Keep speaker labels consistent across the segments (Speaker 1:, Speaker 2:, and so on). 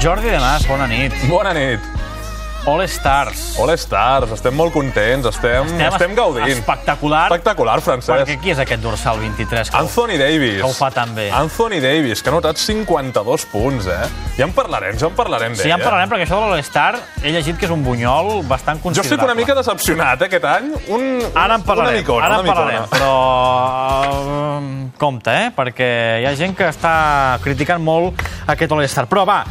Speaker 1: Jordi de Mas, bona nit.
Speaker 2: Bona nit.
Speaker 1: All Stars.
Speaker 2: All Stars, estem molt contents, estem, estem, estem gaudint.
Speaker 1: Espectacular.
Speaker 2: Espectacular, Francesc.
Speaker 1: Perquè qui és aquest dorsal 23? Que ho-
Speaker 2: Anthony Davis.
Speaker 1: Que ho fa tan bé.
Speaker 2: Anthony Davis, que ha notat 52 punts, eh? Ja en parlarem, ja en parlarem d'ell. eh?
Speaker 1: Sí, ja en parlarem, perquè això de l'All-Star he llegit que és un bunyol bastant
Speaker 2: Jo
Speaker 1: considerable.
Speaker 2: estic una mica decepcionat, eh, aquest any. Un,
Speaker 1: Ara en parlarem,
Speaker 2: una micona,
Speaker 1: ara en
Speaker 2: una micona.
Speaker 1: parlarem, però eh, compte, eh? Perquè hi ha gent que està criticant molt aquest All-Star. Però va,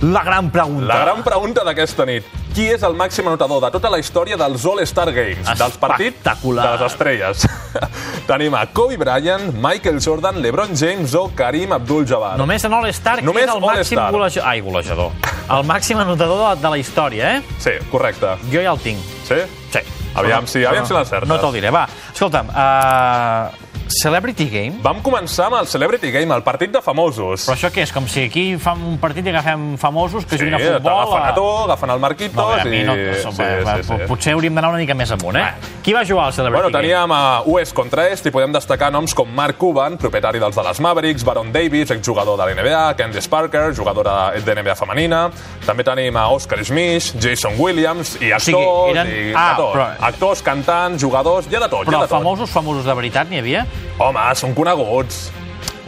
Speaker 1: la gran pregunta.
Speaker 2: La gran pregunta d'aquesta nit. Qui és el màxim anotador de tota la història dels All-Star Games? Dels partits de
Speaker 1: Espectacular.
Speaker 2: les estrelles. Tenim a Kobe Bryant, Michael Jordan, LeBron James o Karim Abdul-Jabbar.
Speaker 1: Només en All-Star, qui
Speaker 2: Només
Speaker 1: és el màxim
Speaker 2: All-Star.
Speaker 1: golejador... Ai, golejador. El màxim anotador de, de la història, eh?
Speaker 2: Sí, correcte.
Speaker 1: Jo ja el tinc.
Speaker 2: Sí?
Speaker 1: Sí.
Speaker 2: Aviam si- aviam si l'encertes.
Speaker 1: No te'l diré, va. Escolta'm, uh, Celebrity Game?
Speaker 2: Vam començar amb el Celebrity Game, el partit de famosos.
Speaker 1: Però això què és? Com si aquí fam un partit i agafem famosos que
Speaker 2: Sí,
Speaker 1: juguin a
Speaker 2: t'agafen
Speaker 1: futbol... eh?
Speaker 2: a tu, agafen el Marquitos...
Speaker 1: No, a veure, a mi no,
Speaker 2: i...
Speaker 1: som, sí, sí, sí. potser hauríem d'anar una mica més amunt, eh? Qui va jugar al Celebrity
Speaker 2: Bueno, teníem a US contra Est i podem destacar noms com Mark Cuban, propietari dels Dallas Mavericks, Baron Davis, exjugador de la NBA, Candice Parker, jugadora de NBA femenina. També tenim a Oscar Smith, Jason Williams i actors,
Speaker 1: sigui, eren-
Speaker 2: i
Speaker 1: Ah,
Speaker 2: de tot.
Speaker 1: però-
Speaker 2: Actors, cantants, jugadors, hi ha de tot,
Speaker 1: Però
Speaker 2: hi ha de tot.
Speaker 1: famosos, famosos de veritat n'hi havia?
Speaker 2: Home, són coneguts.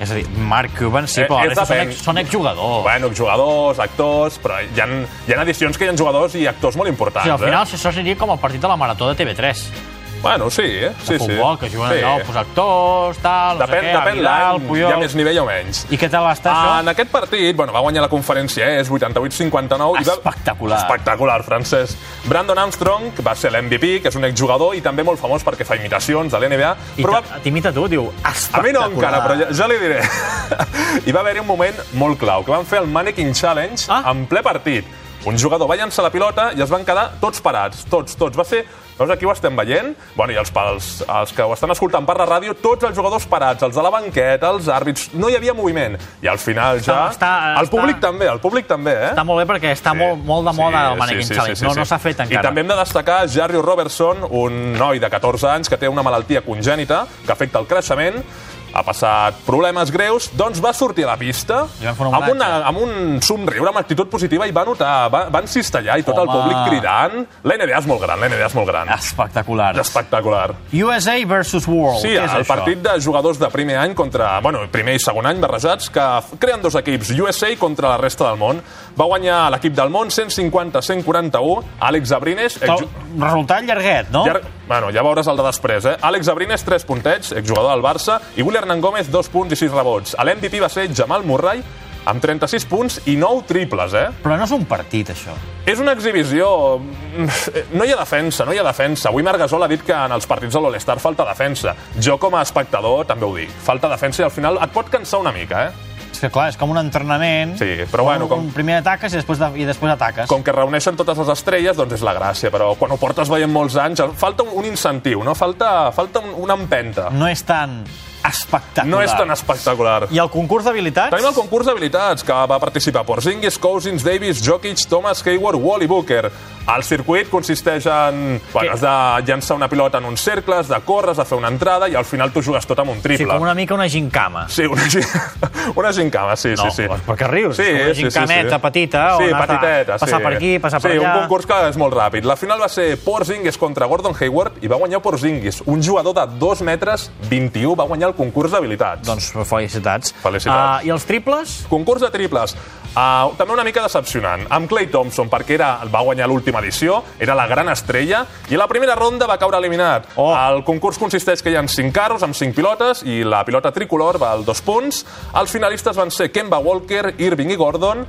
Speaker 1: És a dir, Mark Cuban, sí,
Speaker 2: Eh,
Speaker 1: però la
Speaker 2: és
Speaker 1: resta són,
Speaker 2: depèn.
Speaker 1: ex, són exjugadors.
Speaker 2: Bueno, jugadors, actors, però hi ha, hi ha edicions que hi ha jugadors i actors molt
Speaker 1: O
Speaker 2: importants.
Speaker 1: sigui, al final, això seria com el partit de la marató de TV3.
Speaker 2: Eh? Bueno, eh. sí, eh? sí,
Speaker 1: De futbol,
Speaker 2: sí.
Speaker 1: que juguen allò, pues, actors, tal, no
Speaker 2: Depèn,
Speaker 1: sé què, a
Speaker 2: depèn
Speaker 1: Vidal,
Speaker 2: l'any, hi
Speaker 1: Puyol...
Speaker 2: ha més Ah, nivell o menys.
Speaker 1: I què tal va estar,
Speaker 2: En
Speaker 1: això?
Speaker 2: aquest partit, bueno, va guanyar la conferència, eh? és 88-59. i va-
Speaker 1: Espectacular.
Speaker 2: Espectacular, francès. Brandon Armstrong va ser l'MVP, que és un exjugador i també molt famós perquè fa imitacions de l'NBA.
Speaker 1: I
Speaker 2: Però va...
Speaker 1: t- T'imita tu, diu,
Speaker 2: A
Speaker 1: espectacular.
Speaker 2: mi no encara, però ja, ja li diré. I va haver-hi un moment molt clau, que van fer el Mannequin Challenge
Speaker 1: Ah.
Speaker 2: en ple partit. Un jugador va llançar la pilota i es van quedar tots parats, tots, tots. Va ser... Veus, aquí ho estem veient. Bueno, i els, els, els que ho estan escoltant per la ràdio, tots els jugadors parats, els de la banqueta, els àrbits... No hi havia moviment. I al final ja...
Speaker 1: Està- està-
Speaker 2: el públic
Speaker 1: està-
Speaker 2: també, el públic també, eh?
Speaker 1: Està molt bé perquè està molt, molt de moda el Mannequin Challenge. no no s'ha fet encara.
Speaker 2: I també hem de destacar Jarrio Robertson, un noi de 14 anys que té una malaltia congènita que afecta el creixement, ha passat problemes greus, doncs va sortir a la pista
Speaker 1: Li van fer un
Speaker 2: amb,
Speaker 1: homenatge.
Speaker 2: una, amb un somriure, amb actitud positiva, i va notar, va, van cistellar i tot el
Speaker 1: Home. Ah.
Speaker 2: públic cridant. La NBA és molt gran, la NBA és molt gran.
Speaker 1: Espectacular.
Speaker 2: És espectacular.
Speaker 1: USA versus World.
Speaker 2: Sí,
Speaker 1: Què és
Speaker 2: el
Speaker 1: això?
Speaker 2: partit de jugadors de primer any contra... Bueno, primer i segon any barrejats, que f- creen dos equips, USA contra la resta del món. Va guanyar l'equip del món 150-141, Àlex Abrines...
Speaker 1: Tot- Resultat llarguet, no?
Speaker 2: Ja, bueno, ja veuràs el de després, eh? Àlex Abrines, 3 puntets, exjugador del Barça, i William Hernán Gómez, 2 punts i 6 rebots. L'MVP va ser Jamal Murray, amb 36 punts i 9 triples, eh?
Speaker 1: Però no és un partit, això.
Speaker 2: És una exhibició... mm, No hi ha defensa, no hi ha defensa. Avui Marc Gasol ha dit que en els partits de l'All-Star falta defensa. Jo, com a espectador, també ho dic. Falta defensa i al final et pot cansar una mica, eh?
Speaker 1: És que, clar, és com un entrenament.
Speaker 2: Sí, però bueno,
Speaker 1: com...
Speaker 2: com-
Speaker 1: un Primer ataques i després, de... i després ataques.
Speaker 2: Com que reuneixen totes les estrelles, doncs és la gràcia, però quan ho portes veient molts anys, falta un, un incentiu, no? Falta, falta un, una empenta.
Speaker 1: No és tan espectacular.
Speaker 2: No és tan espectacular.
Speaker 1: I el concurs d'habilitats?
Speaker 2: Tenim el concurs d'habilitats, que va participar Porzingis, Cousins, Davis, Jokic, Thomas, Hayward, Wall i Booker. El circuit consisteix en... Bueno, has de llançar una pilota en uns cercles, de córrer, has de fer una entrada i al final tu jugues tot amb un
Speaker 1: Sí,
Speaker 2: triple.
Speaker 1: com una mica una gincama.
Speaker 2: Sí, una, gi... una gincama, sí,
Speaker 1: No,
Speaker 2: sí, sí.
Speaker 1: per què rius?
Speaker 2: Sí,
Speaker 1: És com una
Speaker 2: sí, sí,
Speaker 1: gincameta
Speaker 2: sí.
Speaker 1: petita,
Speaker 2: sí,
Speaker 1: on has de
Speaker 2: petiteta,
Speaker 1: passar
Speaker 2: sí.
Speaker 1: per aquí, passar
Speaker 2: sí,
Speaker 1: per allà.
Speaker 2: un concurs que és molt ràpid. La final va ser Porzingis contra Gordon Hayward i va guanyar Porzingis, un jugador de 2 metres 21, va guanyar el concurs d'habilitats.
Speaker 1: Doncs felicitats.
Speaker 2: Felicitats.
Speaker 1: Ah, I els triples?
Speaker 2: Concurs de triples. Uh, també una mica decepcionant. Amb Clay Thompson, perquè era, va guanyar l'última edició, era la gran estrella, i a la primera ronda va caure eliminat.
Speaker 1: Oh.
Speaker 2: El concurs consisteix que hi ha 5 carros amb 5 pilotes i la pilota tricolor val 2 punts. Els finalistes van ser Kemba Walker, Irving i Gordon.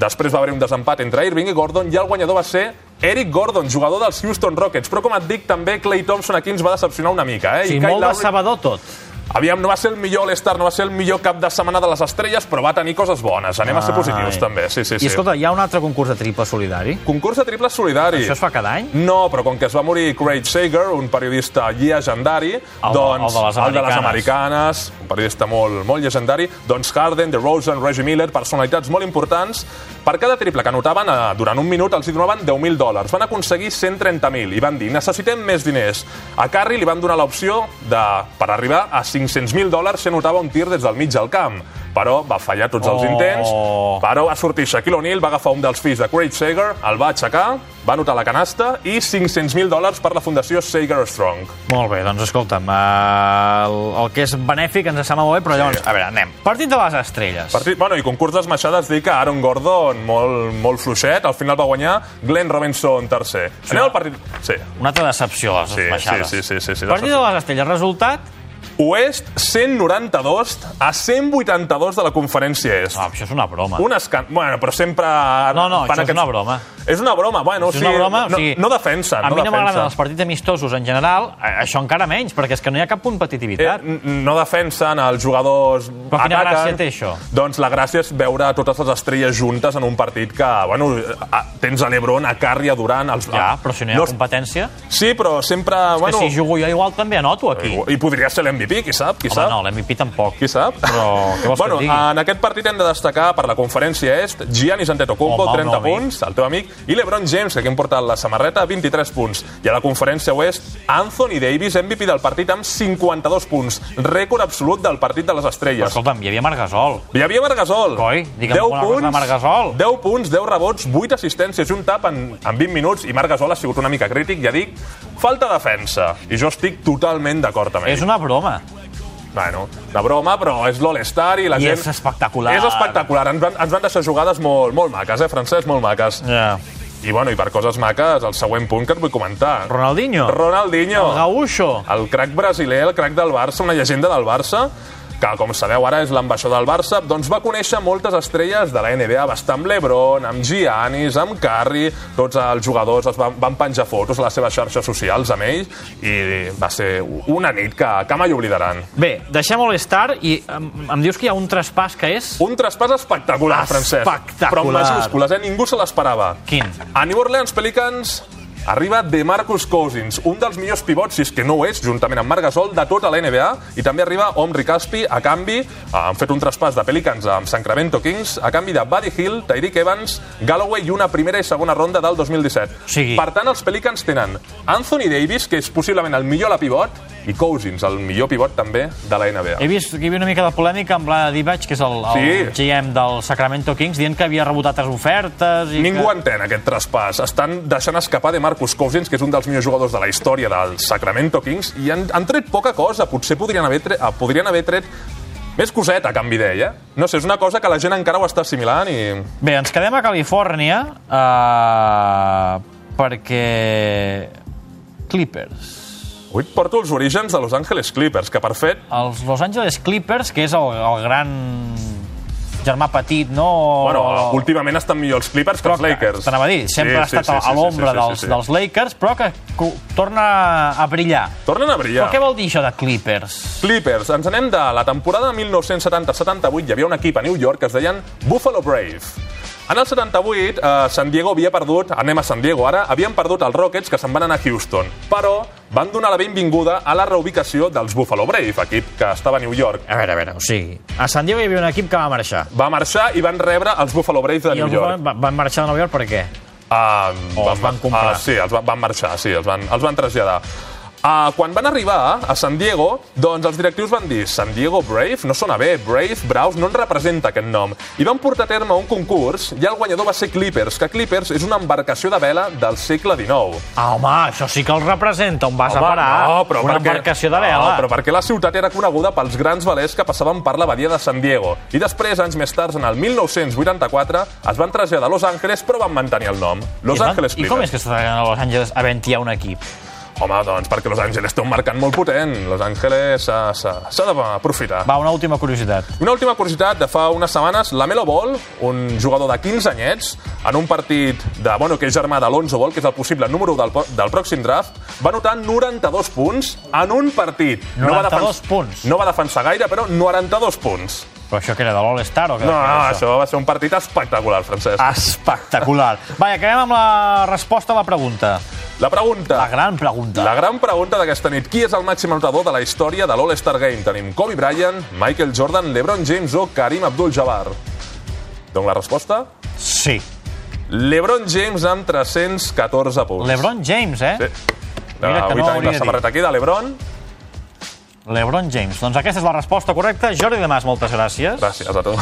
Speaker 2: Després va haver un desempat entre Irving i Gordon i el guanyador va ser Eric Gordon, jugador dels Houston Rockets. Però com et dic, també Clay Thompson aquí ens va decepcionar una mica. Eh?
Speaker 1: Sí,
Speaker 2: I Kyle
Speaker 1: molt de
Speaker 2: Lowry-
Speaker 1: sabador tot.
Speaker 2: Aviam, no va ser el millor All-Star, no va ser el millor cap de setmana de les estrelles, però va tenir coses bones. Anem a ser positius,
Speaker 1: Ai.
Speaker 2: també. Sí, sí, sí.
Speaker 1: I escolta, hi ha un altre concurs de triple solidari?
Speaker 2: Concurs de triples solidari.
Speaker 1: Això es fa cada any?
Speaker 2: No, però com que es va morir Craig Sager, un periodista llegendari,
Speaker 1: de-
Speaker 2: doncs...
Speaker 1: el de les
Speaker 2: el de les
Speaker 1: americanes.
Speaker 2: americanes, un periodista molt, molt llegendari, doncs Harden, DeRozan, Reggie Miller, personalitats molt importants. Per cada triple que anotaven, eh, durant un minut els hi donaven 10.000 dòlars. Van aconseguir 130.000 i van dir, necessitem més diners. A Curry li van donar l'opció de, per arribar a 500.000 dòlars, si anotava un tir des del mig del camp. però va fallar tots els
Speaker 1: Oh.
Speaker 2: intents. Però va sortir Shaquille O'Neal, va agafar un dels fills de Craig Sager, el va aixecar, va anotar la canasta i 500.000 dòlars per la Fundació Sager Strong.
Speaker 1: Molt bé, doncs escolta'm, eh, el, el que és benèfic ens sembla molt bé, però llavors, a veure, anem. Partit de les estrelles.
Speaker 2: Partit, bueno, i concurs d'esmaixades dir que Aaron Gordon, molt, molt fluixet, al final va guanyar Glenn Robinson tercer. Sí. Anem al partit... Sí.
Speaker 1: Una altra decepció, les
Speaker 2: Sí,
Speaker 1: baixades.
Speaker 2: sí, sí, sí, sí, sí,
Speaker 1: Partit de
Speaker 2: decepció.
Speaker 1: les estrelles, resultat...
Speaker 2: Oest, 192 a 182 de la conferència Est.
Speaker 1: No, això és una broma.
Speaker 2: Un escan... Bueno, però sempre...
Speaker 1: Ah. No, no,
Speaker 2: fan
Speaker 1: això és una broma.
Speaker 2: És una broma, bueno,
Speaker 1: Això és
Speaker 2: o
Speaker 1: una
Speaker 2: sigui,
Speaker 1: broma,
Speaker 2: no,
Speaker 1: o sigui,
Speaker 2: no defensa,
Speaker 1: A
Speaker 2: no
Speaker 1: mi no m'agraden
Speaker 2: defensa.
Speaker 1: els partits amistosos en general, a- això encara menys, perquè és que no hi ha cap competitivitat.
Speaker 2: Eh, n- no defensen, els jugadors
Speaker 1: Però quina
Speaker 2: ataquen.
Speaker 1: gràcia té això?
Speaker 2: Doncs la gràcia és veure totes les estrelles juntes en un partit que, bueno, eh, a- tens a l'Ebron, a Carri, a Durant... Els,
Speaker 1: ja, però si no hi ha
Speaker 2: es-
Speaker 1: competència,
Speaker 2: Sí, però sempre...
Speaker 1: bueno, Eh,
Speaker 2: Bueno,
Speaker 1: que si jugo jo igual també anoto aquí.
Speaker 2: I podria ser l'MVP, qui sap, qui
Speaker 1: Home,
Speaker 2: sap.
Speaker 1: no, l'MVP tampoc.
Speaker 2: Qui sap?
Speaker 1: Però què vols que
Speaker 2: bueno,
Speaker 1: et digui?
Speaker 2: en aquest partit hem de destacar per la conferència est Giannis Antetokounmpo,
Speaker 1: Home, el meu
Speaker 2: 30
Speaker 1: amic.
Speaker 2: punts, el teu amic, i LeBron James, que aquí hem portat la samarreta, 23 punts. I a la conferència oest, Anthony Davis, MVP del partit amb 52 punts, rècord absolut del partit de les
Speaker 1: Però
Speaker 2: estrelles.
Speaker 1: escolta'm, hi havia Margasol.
Speaker 2: Hi havia Margasol.
Speaker 1: Coi, digue'm alguna cosa de Margasol.
Speaker 2: 10 punts, 10 rebots, 8 assistències i un tap en, en 20 minuts. I Margasol ha sigut una mica crític, ja dic, falta defensa. I jo estic totalment d'acord amb ell.
Speaker 1: És una broma.
Speaker 2: Bueno, de broma, però és l'All-Star i la
Speaker 1: I
Speaker 2: gent...
Speaker 1: és espectacular.
Speaker 2: És espectacular. Ens van, ens van deixar jugades molt, molt maques, eh, Francesc? Molt maques.
Speaker 1: Ja.
Speaker 2: I, bueno, i per coses maques, el següent punt que et vull comentar.
Speaker 1: Ronaldinho.
Speaker 2: Ronaldinho,
Speaker 1: El Gaúcho.
Speaker 2: el crac brasiler, el crac del Barça, una llegenda del Barça, que, com sabeu, ara és l'ambaixador del Barça, doncs va conèixer moltes estrelles de la NBA, va estar amb Lebron, amb Giannis, amb Curry, tots els jugadors es van, van penjar fotos a les seves xarxes socials amb ells, i va ser una nit que, que mai oblidaran.
Speaker 1: Bé, deixem l'Star i em, em dius que hi ha un traspàs que és...
Speaker 2: Un traspàs espectacular, Francesc.
Speaker 1: Espectacular.
Speaker 2: Però amb majúscules, eh? Ningú se l'esperava.
Speaker 1: Quin?
Speaker 2: A New Orleans Pelicans arriba de Marcus Cousins, un dels millors pivots, si és que no ho és, juntament amb Marc Gasol, de tota la NBA, i també arriba Omri Caspi, a canvi, eh, han fet un traspàs de Pelicans amb Sacramento Kings, a canvi de Buddy Hill, Tyreek Evans, Galloway i una primera i segona ronda del 2017.
Speaker 1: O sigui-
Speaker 2: Per tant, els Pelicans tenen Anthony Davis, que és possiblement el millor a la pivot, i Cousins, el millor pivot també de la NBA.
Speaker 1: He vist que hi havia una mica de polèmica amb la Divac, que és el, el
Speaker 2: Sí.
Speaker 1: GM del Sacramento Kings, dient que havia rebut altres ofertes... I
Speaker 2: Ningú
Speaker 1: que...
Speaker 2: entén aquest traspàs. Estan deixant escapar de Marcus Cousins, que és un dels millors jugadors de la història del Sacramento Kings, i han, han tret poca cosa. Potser podrien haver, tre eh, podrien haver tret més coseta a canvi d'ell, eh? No sé, és una cosa que la gent encara ho està assimilant i...
Speaker 1: Bé, ens quedem a Califòrnia eh, perquè... Clippers.
Speaker 2: Avui et porto els orígens de Los Angeles Clippers, que per fet...
Speaker 1: Els Los Angeles Clippers, que és el, el gran germà petit, no?
Speaker 2: Bueno, últimament estan millor els Clippers que els Lakers.
Speaker 1: T'anava a dir, sempre sí, ha estat sí, sí, a l'ombra sí, sí, sí, dels, sí, sí. dels Lakers, però que co- torna a brillar.
Speaker 2: Tornen a brillar.
Speaker 1: Però què vol dir això de Clippers?
Speaker 2: Clippers, ens anem de la temporada 1970-78, hi havia un equip a New York que es deien Buffalo Brave. En el 78, eh, San Diego havia perdut, anem a San Diego ara, havien perdut els Rockets que se'n van anar a Houston, però van donar la benvinguda a la reubicació dels Buffalo Brave, equip que estava a New York.
Speaker 1: A veure, a veure, o sigui, a San Diego hi havia un equip que va marxar.
Speaker 2: Va marxar i van rebre els Buffalo Brave de
Speaker 1: I
Speaker 2: New
Speaker 1: els
Speaker 2: York.
Speaker 1: van, va- van marxar de Nova York per què?
Speaker 2: Ah,
Speaker 1: O els van comprar.
Speaker 2: Ah, sí, els van, van marxar, sí, els van, els van traslladar. Ah, quan van arribar a San Diego, doncs els directius van dir San Diego Brave no sona bé, Brave, Braus, no en representa aquest nom. I van portar a terme un concurs i el guanyador va ser Clippers, que Clippers és una embarcació de vela del segle XIX.
Speaker 1: Ah, home, això sí que els representa, on vas a parar? una embarcació de vela.
Speaker 2: No, però perquè la ciutat era coneguda pels grans velers que passaven per la badia de San Diego. I després, anys més tard, en el 1984, es van traslladar a Los Angeles, però van mantenir el nom. Los
Speaker 1: I,
Speaker 2: Angeles
Speaker 1: I
Speaker 2: Clippers.
Speaker 1: com és que està a Los Angeles havent hi ha un equip?
Speaker 2: Home, doncs perquè Los Angeles té un mercat molt potent. Los Angeles s'ha- s'ha s'ha d'aprofitar.
Speaker 1: Va, una última curiositat.
Speaker 2: Una última curiositat de fa unes setmanes, la Melo Ball, un jugador de 15 anyets, en un partit de, bueno, que és germà de l'Onzo Ball, que és el possible número 1 del, po- del pròxim draft, va anotar 92 punts en un partit. va
Speaker 1: 92
Speaker 2: defen-
Speaker 1: punts.
Speaker 2: No va defensar gaire, però 92 punts.
Speaker 1: Però això que era de l'All-Star o què? Ah.
Speaker 2: No,
Speaker 1: era
Speaker 2: no, això va ser un partit espectacular, Francesc.
Speaker 1: Espectacular. Va, i acabem amb la resposta a la pregunta.
Speaker 2: La pregunta...
Speaker 1: La gran pregunta.
Speaker 2: La gran pregunta d'aquesta nit, qui és el màxim anotador de la història de l'All-Star Game? Tenim Kobe Bryant, Michael Jordan, LeBron James o Karim Abdul-Jabbar? Doncs la resposta?
Speaker 1: Sí.
Speaker 2: LeBron James amb 314 punts. Ah,
Speaker 1: LeBron James, eh?
Speaker 2: Sí.
Speaker 1: Mira que
Speaker 2: avui
Speaker 1: no
Speaker 2: tenim
Speaker 1: hauria
Speaker 2: la
Speaker 1: dit.
Speaker 2: samarreta aquí de LeBron.
Speaker 1: LeBron James. Doncs aquesta és la resposta correcta. Jordi de Mas, moltes gràcies.
Speaker 2: Gràcies a tu.